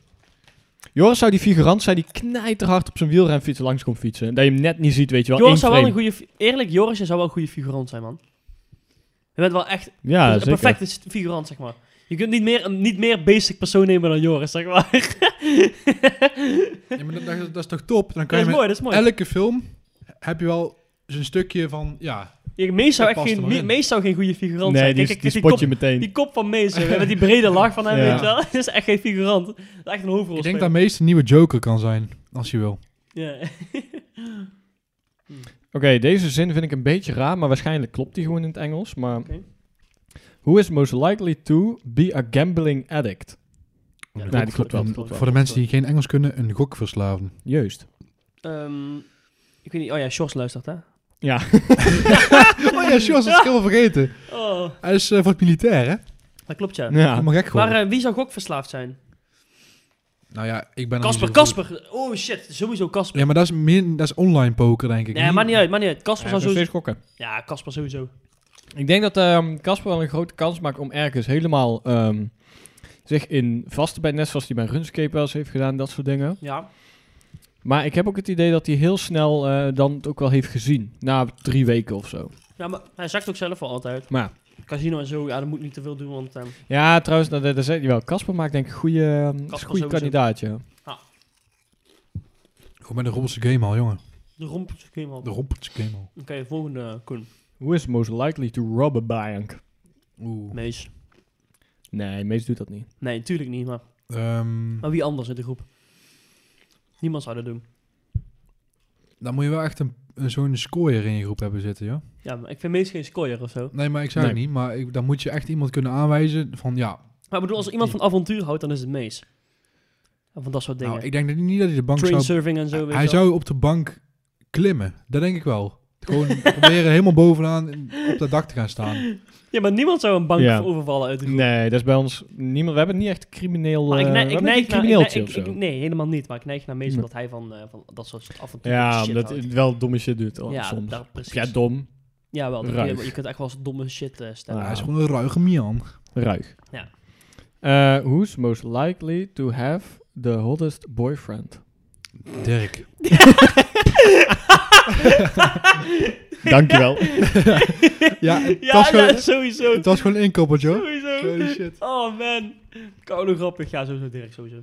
[SPEAKER 2] Joris zou die figurant zijn die knijterhard op zijn wielrenfiets langs komt fietsen. Dat je hem net niet ziet, weet je wel.
[SPEAKER 3] Joris
[SPEAKER 2] Eén
[SPEAKER 3] zou wel een
[SPEAKER 2] frame.
[SPEAKER 3] goede... fi- Eerlijk, Joris jij zou wel een goede figurant zijn, man. Je bent wel echt
[SPEAKER 2] Ja,
[SPEAKER 3] een
[SPEAKER 2] zeker.
[SPEAKER 3] perfecte s- figurant, zeg maar. Je kunt niet meer een niet meer basic persoon nemen dan Joris, zeg maar.
[SPEAKER 1] Ja, maar dat, dat, dat is toch top? Dan kan
[SPEAKER 3] dat is
[SPEAKER 1] je met
[SPEAKER 3] mooi, dat is mooi.
[SPEAKER 1] elke film heb je wel zo'n stukje van, ja...
[SPEAKER 3] Ja, Mees zou
[SPEAKER 1] Dat
[SPEAKER 3] echt
[SPEAKER 1] past er
[SPEAKER 3] geen,
[SPEAKER 1] maar
[SPEAKER 3] Mee-
[SPEAKER 1] in.
[SPEAKER 3] Mees zou geen goede figurant
[SPEAKER 2] Nee,
[SPEAKER 3] zijn.
[SPEAKER 2] die,
[SPEAKER 3] Kijk,
[SPEAKER 2] die
[SPEAKER 3] kijk,
[SPEAKER 2] spot je
[SPEAKER 3] kop,
[SPEAKER 2] meteen.
[SPEAKER 3] die kop van Mees, hè, met die brede lach van hem,
[SPEAKER 2] Ja.
[SPEAKER 3] weet je wel. Dat is echt geen figurant. Dat is echt een hoofdrol.
[SPEAKER 1] Ik denk dat Mees de nieuwe Joker kan zijn, als je wil.
[SPEAKER 3] Ja.
[SPEAKER 2] Oké, deze zin vind ik een beetje raar, maar waarschijnlijk klopt die gewoon in het Engels. Maar
[SPEAKER 3] Oké.
[SPEAKER 2] who is most likely to be a gambling addict?
[SPEAKER 3] Ja,
[SPEAKER 1] Een
[SPEAKER 2] nee,
[SPEAKER 1] gok-
[SPEAKER 2] die klopt wel,
[SPEAKER 1] een-
[SPEAKER 2] die klopt wel.
[SPEAKER 1] Voor de mensen die geen Engels kunnen, een gokverslaafde.
[SPEAKER 2] Juist.
[SPEAKER 3] Ehm, ik weet niet. Oh ja, Sjors luistert, hè?
[SPEAKER 2] Ja.
[SPEAKER 1] Oh ja, Jos, dat is helemaal vergeten.
[SPEAKER 3] Oh,
[SPEAKER 1] Hij is eh, voor het militair, hè?
[SPEAKER 3] dat klopt, ja.
[SPEAKER 2] ja.
[SPEAKER 1] Helemaal gek
[SPEAKER 3] Maar
[SPEAKER 1] geworden.
[SPEAKER 3] eh, wie zou gokverslaafd zijn?
[SPEAKER 1] nou ja, ik ben... er
[SPEAKER 3] Casper,
[SPEAKER 1] niet zo goed.
[SPEAKER 3] Casper. Oh shit, sowieso Casper.
[SPEAKER 1] Ja, maar dat is, min, dat is online poker, denk ik.
[SPEAKER 3] Nee, maakt niet uit, maakt niet uit. Casper
[SPEAKER 2] Hij
[SPEAKER 3] zou
[SPEAKER 2] is nog
[SPEAKER 3] sowieso...
[SPEAKER 2] steeds gokken.
[SPEAKER 3] Ja, Casper sowieso.
[SPEAKER 2] Ik denk dat ehm, Casper wel een grote kans maakt om ergens helemaal ehm, zich in vast te bijten. Net zoals hij bij Runscape wel eens heeft gedaan, dat soort dingen.
[SPEAKER 3] Ja.
[SPEAKER 2] Maar ik heb ook het idee dat hij heel snel eh, dan het ook wel heeft gezien. Na drie weken of zo.
[SPEAKER 3] Ja, maar hij zegt ook zelf wel altijd.
[SPEAKER 2] Maar
[SPEAKER 3] Casino en zo, ja, dat moet niet te veel doen, want... ehm,
[SPEAKER 2] ja, trouwens, dat, dat zei hij wel. Casper maakt denk ik een goede, ehm, is een goede
[SPEAKER 3] sowieso.
[SPEAKER 2] kandidaat, ja.
[SPEAKER 1] Goed met de rompertje game al, jongen.
[SPEAKER 3] de romp is ook helemaal...
[SPEAKER 1] De
[SPEAKER 3] Oké,
[SPEAKER 1] rompertje game al.
[SPEAKER 3] volgende, Koen.
[SPEAKER 2] Who is most likely to rob a bank?
[SPEAKER 1] Oeh.
[SPEAKER 3] Mees.
[SPEAKER 2] Nee, Mees doet dat niet.
[SPEAKER 3] Nee, natuurlijk niet, maar...
[SPEAKER 1] Ehm,
[SPEAKER 3] Maar wie anders in de groep? Niemand zou dat doen.
[SPEAKER 1] dan moet je wel echt een, een- zo'n scorer in je groep hebben zitten, ja.
[SPEAKER 3] Ja, maar ik vind Mees geen scoyer of zo.
[SPEAKER 1] Nee, maar ik zou het
[SPEAKER 2] Nee.
[SPEAKER 1] niet. Maar ik, dan moet je echt iemand kunnen aanwijzen van, ja...
[SPEAKER 3] Maar ik bedoel, als er iemand van avontuur houdt, dan is het Mees. En van dat soort
[SPEAKER 2] Nou,
[SPEAKER 3] dingen.
[SPEAKER 1] Nou, ik denk dat, niet dat hij de bank
[SPEAKER 3] Train
[SPEAKER 1] zou...
[SPEAKER 3] surfing en zo, weet je
[SPEAKER 1] hij
[SPEAKER 3] wel.
[SPEAKER 1] zou op de bank klimmen. Dat denk ik wel. Gewoon proberen helemaal bovenaan in- op dat dak te gaan staan.
[SPEAKER 3] Ja, maar niemand zou een bank
[SPEAKER 2] Ja.
[SPEAKER 3] overvallen uit de groep.
[SPEAKER 2] Nee, dat is bij ons niemand. We hebben niet echt crimineel.
[SPEAKER 3] Maar ik,
[SPEAKER 2] eh,
[SPEAKER 3] neig-
[SPEAKER 2] we
[SPEAKER 3] ik
[SPEAKER 2] hebben
[SPEAKER 3] neig
[SPEAKER 2] geen
[SPEAKER 3] naar,
[SPEAKER 2] crimineeltje
[SPEAKER 3] ik-
[SPEAKER 2] of zo.
[SPEAKER 3] ik- nee, helemaal niet. Maar ik neig naar meestal
[SPEAKER 2] Nee.
[SPEAKER 3] dat hij van, eh, van dat soort af en toe
[SPEAKER 2] ja,
[SPEAKER 3] shit
[SPEAKER 2] omdat
[SPEAKER 3] houdt.
[SPEAKER 2] het wel domme shit doet oh,
[SPEAKER 3] ja,
[SPEAKER 2] soms.
[SPEAKER 3] daar-
[SPEAKER 2] Of
[SPEAKER 3] precies.
[SPEAKER 2] Ja, dom.
[SPEAKER 3] ja, wel. dat kun
[SPEAKER 2] ruig.
[SPEAKER 3] Je, je kunt echt wel eens domme shit eh, stellen.
[SPEAKER 2] Ah.
[SPEAKER 1] Hij is gewoon een ruige Mian.
[SPEAKER 2] Ruig.
[SPEAKER 3] Ja.
[SPEAKER 2] Eh, who's most likely to have the hottest boyfriend?
[SPEAKER 1] Dirk.
[SPEAKER 2] Dankjewel.
[SPEAKER 1] Ja, het
[SPEAKER 3] ja,
[SPEAKER 1] was gewoon,
[SPEAKER 3] ja, sowieso.
[SPEAKER 1] het was gewoon een inkoppertje hoor.
[SPEAKER 3] Sowieso.
[SPEAKER 1] Holy shit.
[SPEAKER 3] Oh man. Koude grappig. Ja, sowieso Dirk, sowieso.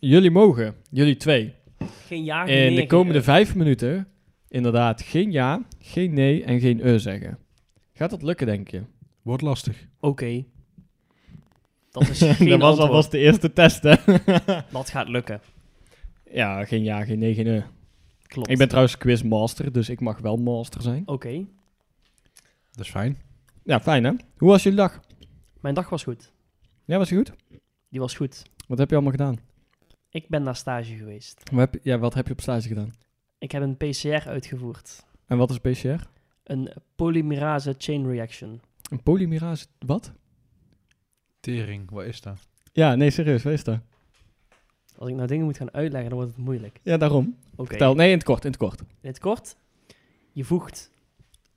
[SPEAKER 2] jullie mogen, jullie twee,
[SPEAKER 3] Geen ja, geen nee,
[SPEAKER 2] in de
[SPEAKER 3] geen
[SPEAKER 2] komende
[SPEAKER 3] eh.
[SPEAKER 2] vijf minuten inderdaad geen ja, geen nee en geen eh zeggen. Gaat dat lukken, denk je?
[SPEAKER 1] Wordt lastig.
[SPEAKER 3] Oké. Dat is geen dat was
[SPEAKER 2] alvast de eerste test, hè?
[SPEAKER 3] Dat gaat lukken.
[SPEAKER 2] ja, geen ja, geen nee, geen eh.
[SPEAKER 3] Klopt.
[SPEAKER 2] Ik ben trouwens quizmaster, dus ik mag wel master zijn.
[SPEAKER 3] Oké.
[SPEAKER 1] Dat is fijn.
[SPEAKER 2] Ja, fijn hè? Hoe was jullie dag?
[SPEAKER 3] Mijn dag was goed.
[SPEAKER 2] Ja, was het goed?
[SPEAKER 3] Die was goed.
[SPEAKER 2] Wat heb je allemaal gedaan?
[SPEAKER 3] Ik ben naar stage geweest.
[SPEAKER 2] Wat heb, ja, wat heb je op stage gedaan?
[SPEAKER 3] Ik heb een PCR uitgevoerd.
[SPEAKER 2] En wat is PCR?
[SPEAKER 3] Een polymerase chain reaction.
[SPEAKER 2] Een polymerase... Wat?
[SPEAKER 1] Tering, wat is dat?
[SPEAKER 2] Ja, nee, serieus, wees daar.
[SPEAKER 3] Als ik nou dingen moet gaan uitleggen, dan wordt het moeilijk.
[SPEAKER 2] Ja, daarom.
[SPEAKER 3] Oké.
[SPEAKER 2] Vertel, nee, in het kort, in het kort.
[SPEAKER 3] In het kort. Je voegt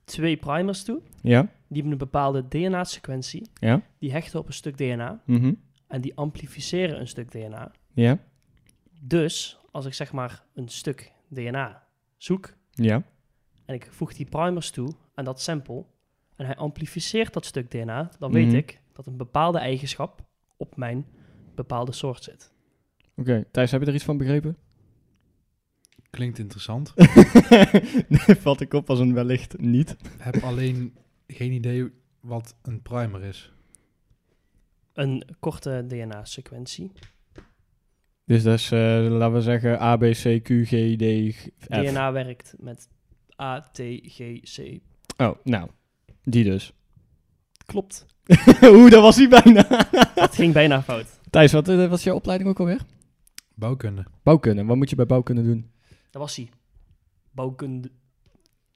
[SPEAKER 3] twee primers toe.
[SPEAKER 2] Ja?
[SPEAKER 3] Die hebben een bepaalde DNA-sequentie.
[SPEAKER 2] Ja?
[SPEAKER 3] Die hechten op een stuk DNA.
[SPEAKER 2] Mhm.
[SPEAKER 3] En die amplificeren een stuk DNA.
[SPEAKER 2] Ja?
[SPEAKER 3] Dus als ik zeg maar een stuk DNA zoek.
[SPEAKER 2] Ja?
[SPEAKER 3] En ik voeg die primers toe aan dat sample. En hij amplificeert dat stuk DNA. Dan weet
[SPEAKER 2] Mhm.
[SPEAKER 3] ik dat een bepaalde eigenschap op mijn bepaalde soort zit.
[SPEAKER 2] Oké, Thijs, heb je er iets van begrepen?
[SPEAKER 1] Klinkt interessant.
[SPEAKER 2] nee, vat ik op als een wellicht niet.
[SPEAKER 1] Heb alleen geen idee wat een primer is.
[SPEAKER 3] Een korte DNA-sequentie.
[SPEAKER 2] Dus dat is, eh, laten we zeggen, A, B, C, Q, G, D, G, F.
[SPEAKER 3] DNA werkt met A, T, G, C.
[SPEAKER 2] Oh, nou. Die dus.
[SPEAKER 3] Klopt.
[SPEAKER 2] Oeh, dat was hij bijna.
[SPEAKER 3] Dat ging bijna fout.
[SPEAKER 2] Thijs, wat eh, was jouw opleiding ook alweer?
[SPEAKER 1] Bouwkunde.
[SPEAKER 2] Bouwkunde. Wat moet je bij bouwkunde doen?
[SPEAKER 3] Dat was hij. Bouwkunde.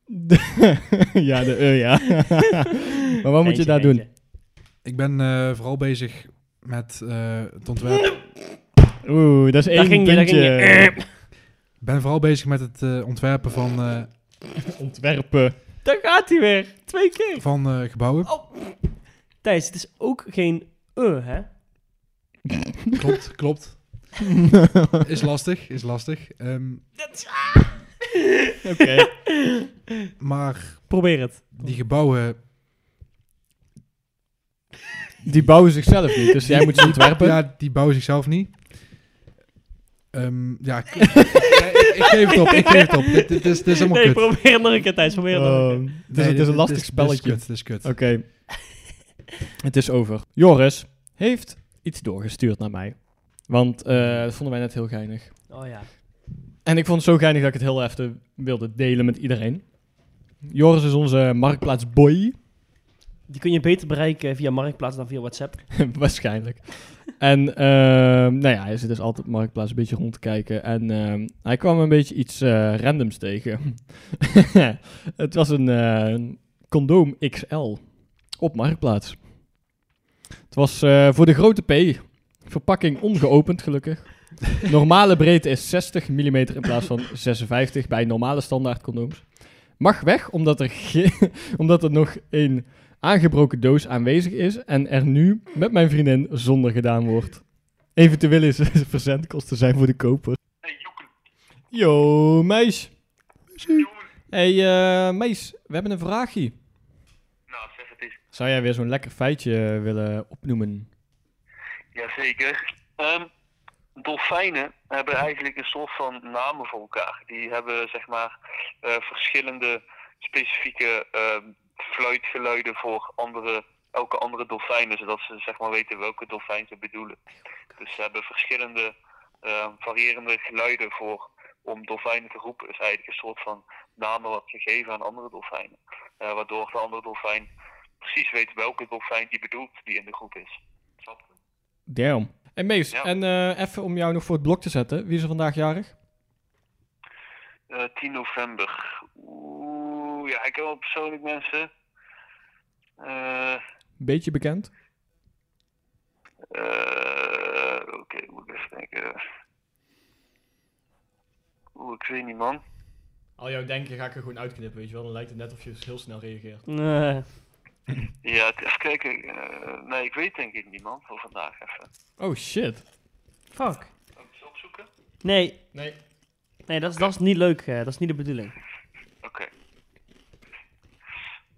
[SPEAKER 2] ja, de eh, ja. maar wat moet je
[SPEAKER 3] Eentje,
[SPEAKER 2] daar
[SPEAKER 3] eentje.
[SPEAKER 1] Ik ben eh, vooral bezig met eh, het ontwerp.
[SPEAKER 2] doen? Oeh, dat is één
[SPEAKER 3] Daar ging je, daar
[SPEAKER 2] puntje.
[SPEAKER 3] ging je.
[SPEAKER 1] Ik ben vooral bezig met het eh, ontwerpen van, eh,
[SPEAKER 2] Ontwerpen.
[SPEAKER 3] Eh, Daar gaat hij weer. Twee keer. Oh.
[SPEAKER 1] van eh, gebouwen.
[SPEAKER 3] Thijs, het is ook geen eh, hè?
[SPEAKER 2] Oh
[SPEAKER 1] Klopt, klopt. Is lastig, is lastig. Ehm,
[SPEAKER 2] Oké.
[SPEAKER 1] maar
[SPEAKER 3] Probeer het.
[SPEAKER 2] Oh.
[SPEAKER 1] die gebouwen...
[SPEAKER 2] Die bouwen zichzelf niet, dus jij moet ze ontwerpen.
[SPEAKER 1] Ja, die bouwen zichzelf niet. Ehm, ja, ik, nee, ik- ik geef het op, ik geef het op. Dit, dit is, dit is allemaal
[SPEAKER 3] nee,
[SPEAKER 1] kut. Oh.
[SPEAKER 3] probeer het nog een keer, Thijs. Probeer het nog een
[SPEAKER 2] Ehm,
[SPEAKER 3] keer.
[SPEAKER 2] het, is, het is een lastig spelletje.
[SPEAKER 1] Dit is kut, dit is kut.
[SPEAKER 2] Oké. Het is over. Joris heeft iets doorgestuurd naar mij. Want eh, dat vonden wij net heel geinig.
[SPEAKER 3] Oh ja.
[SPEAKER 2] En ik vond het zo geinig dat ik het heel even wilde delen met iedereen. Joris is onze marktplaatsboy.
[SPEAKER 3] Die kun je beter bereiken eh, via Marktplaats dan via WhatsApp.
[SPEAKER 2] Waarschijnlijk. En ehm, nou ja, hij zit dus altijd op Marktplaats een beetje rond te kijken. En ehm, hij kwam een beetje iets eh, randoms tegen. het was een eh, een condoom XL op Marktplaats. Het was eh, voor de grote P. Verpakking ongeopend, gelukkig. Normale breedte is 60 mm in plaats van 56 bij normale standaard condooms. Mag weg omdat er, ge- omdat er nog een aangebroken doos aanwezig is en er nu met mijn vriendin zonder gedaan wordt. Eventueel is verzendkosten zijn voor de koper. Hey, Yo, meis. Hey, eh, meis, we hebben een vraagje.
[SPEAKER 4] Nou, zeg het eens.
[SPEAKER 2] Zou jij weer zo'n lekker feitje eh, willen opnoemen?
[SPEAKER 4] Jazeker. Ehm dolfijnen hebben eigenlijk een soort van namen voor elkaar. Die hebben zeg maar eh, verschillende specifieke ehm, fluitgeluiden voor andere, elke andere dolfijnen, zodat ze zeg maar weten welke dolfijn ze bedoelen. Dus ze hebben verschillende ehm, variërende geluiden voor om dolfijnen te roepen. is eigenlijk een soort van namen wat ze geven aan andere dolfijnen. Eh, waardoor de andere dolfijn precies weet welke dolfijn die bedoelt die in de groep is. Snap je?
[SPEAKER 2] Damn. Hey, mees,
[SPEAKER 4] Ja.
[SPEAKER 2] en eh, even om jou nog voor het blok te zetten. Wie is er vandaag jarig?
[SPEAKER 4] Eh, 10 november. Oeh, Oeh, ja, ik ken wel persoonlijk mensen. Eh,
[SPEAKER 2] Beetje bekend?
[SPEAKER 4] eh, Oké, moet ik even denken. Oeh, ik weet niet, man.
[SPEAKER 2] Al jouw denken ga ik er gewoon uitknippen, weet je wel. Dan lijkt het net of je heel snel reageert.
[SPEAKER 3] Nee.
[SPEAKER 4] Ja, het- even kijken. eh, nee, ik weet denk ik niet, man, voor vandaag even.
[SPEAKER 2] Oh shit.
[SPEAKER 3] Fuck.
[SPEAKER 4] Zal ik het opzoeken?
[SPEAKER 3] Nee,
[SPEAKER 2] Nee.
[SPEAKER 3] nee dat, is, dat is niet leuk. eh, dat is niet de bedoeling.
[SPEAKER 4] Oké.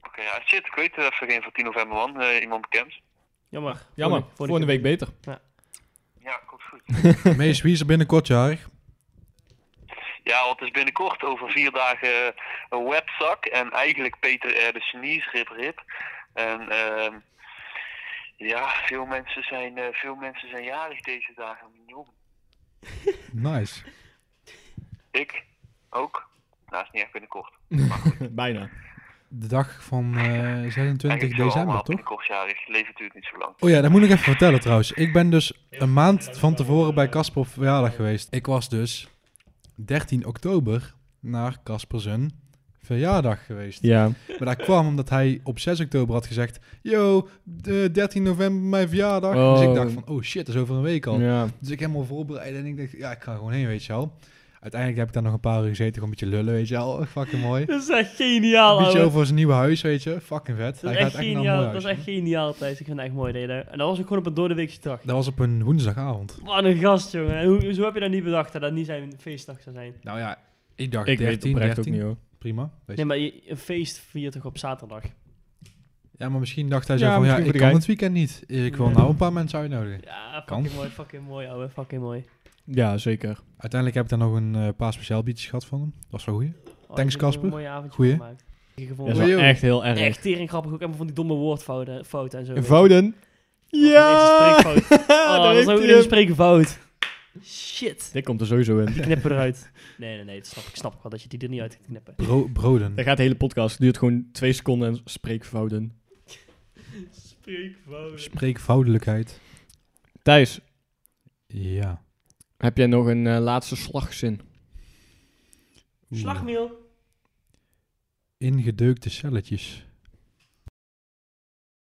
[SPEAKER 4] Oké, ja, shit, ik weet er even geen van 10 november, man. Eh, iemand bekend.
[SPEAKER 3] Jammer.
[SPEAKER 2] Jammer,
[SPEAKER 3] Volgende-
[SPEAKER 2] volgende week beter.
[SPEAKER 4] Ja, komt goed.
[SPEAKER 1] Mees, wie is er binnenkort jarig?
[SPEAKER 4] Ja, want het is binnenkort over vier dagen eh, een webzak. En eigenlijk Peter R. de Genies, rip rip. En ehm, ja, veel mensen, zijn, eh, veel mensen zijn jarig deze dagen. Mignon.
[SPEAKER 1] Nice.
[SPEAKER 4] Ik ook. Nou, is niet echt binnenkort.
[SPEAKER 2] Bijna.
[SPEAKER 1] De dag van eh, 26
[SPEAKER 4] Eigenlijk zijn we allemaal
[SPEAKER 1] december, toch?
[SPEAKER 4] Binnenkort jarig. Leven duurt niet zo lang.
[SPEAKER 1] Oh ja, dat moet ik even vertellen trouwens. Ik ben dus een maand van tevoren bij Casper op verjaardag geweest. Ik was dus 13 oktober naar Casper zijn verjaardag geweest.
[SPEAKER 2] Ja.
[SPEAKER 1] Maar dat kwam omdat hij op 6 oktober had gezegd... Yo, de 13 november mijn verjaardag. Dus ik
[SPEAKER 2] Oh.
[SPEAKER 1] dacht van, oh shit, dat is over een week al.
[SPEAKER 2] ja.
[SPEAKER 1] Dus ik helemaal voorbereid en ik dacht, ja, ik ga gewoon heen, weet je wel. Uiteindelijk heb ik daar nog een paar uur gezeten, gewoon een beetje lullen, weet je wel. Fucking mooi.
[SPEAKER 3] Dat is echt geniaal,
[SPEAKER 1] Een beetje
[SPEAKER 3] ouwe.
[SPEAKER 1] over zijn nieuwe huis, weet je. Fucking vet.
[SPEAKER 3] Dat
[SPEAKER 1] Hij
[SPEAKER 3] is,
[SPEAKER 1] gaat echt
[SPEAKER 3] echt
[SPEAKER 1] naar een mooi
[SPEAKER 3] geniaal, dat
[SPEAKER 1] huis.
[SPEAKER 3] is echt geniaal, Thijs. Ik vind het echt mooi. Dat je daar- en dat was ook gewoon op een doordeweekse dag.
[SPEAKER 1] Dat was op een woensdagavond.
[SPEAKER 3] Wat een gast, jongen. Hoe, hoezo heb je dat niet bedacht dat dat niet zijn feestdag zou zijn?
[SPEAKER 1] Nou ja, ik dacht
[SPEAKER 2] Ik
[SPEAKER 1] 13,
[SPEAKER 2] weet het oprecht
[SPEAKER 1] 13.
[SPEAKER 2] ook niet hoor.
[SPEAKER 1] Prima. weet je.
[SPEAKER 3] Nee, maar je, een feest viert toch op zaterdag?
[SPEAKER 1] Ja, maar misschien dacht hij
[SPEAKER 2] Ja,
[SPEAKER 1] zo van, ja,
[SPEAKER 2] misschien
[SPEAKER 1] ik
[SPEAKER 2] voor de
[SPEAKER 1] kan
[SPEAKER 2] gein.
[SPEAKER 1] het weekend niet. Ik wil
[SPEAKER 3] Nee.
[SPEAKER 1] nou een paar mensen uitnodigen.
[SPEAKER 3] Ja,
[SPEAKER 1] Kan.
[SPEAKER 3] fucking mooi, fucking mooi, ouwe. Fucking mooi.
[SPEAKER 2] Ja,
[SPEAKER 3] Oh,
[SPEAKER 2] zeker.
[SPEAKER 1] Uiteindelijk heb ik daar nog een eh, paar speciaal biertjes gehad van hem. Dat was wel goed.
[SPEAKER 3] Oh,
[SPEAKER 1] Thanks,
[SPEAKER 3] ik heb er
[SPEAKER 1] Casper.
[SPEAKER 3] Een mooie avondje
[SPEAKER 1] Goeie.
[SPEAKER 3] van gemaakt. Ik
[SPEAKER 2] Dat is
[SPEAKER 3] gevonden.
[SPEAKER 1] Oei,
[SPEAKER 2] wel
[SPEAKER 1] joh.
[SPEAKER 2] echt heel erg.
[SPEAKER 3] echt tering grappig. Ook helemaal van die domme woordfouten fouten en zo.
[SPEAKER 2] Vouden.
[SPEAKER 3] Ja!
[SPEAKER 2] Ja!
[SPEAKER 3] Oh, dat is ook een spreekfout. Shit.
[SPEAKER 2] Dit komt er sowieso in.
[SPEAKER 3] Die knippen eruit. Nee, nee, nee. Dat snap ik. snap ik wel dat je die er niet uit gaat knippen.
[SPEAKER 1] Bro broden.
[SPEAKER 2] Dat gaat de hele podcast. Duurt gewoon twee seconden en spreekvouden.
[SPEAKER 3] Spreekfout.
[SPEAKER 1] Spreekvoudelijkheid.
[SPEAKER 2] Thijs,
[SPEAKER 1] Ja.
[SPEAKER 2] heb jij nog een eh, laatste slagzin?
[SPEAKER 1] Oeh.
[SPEAKER 3] Slagmeel.
[SPEAKER 1] Ingedeukte celletjes.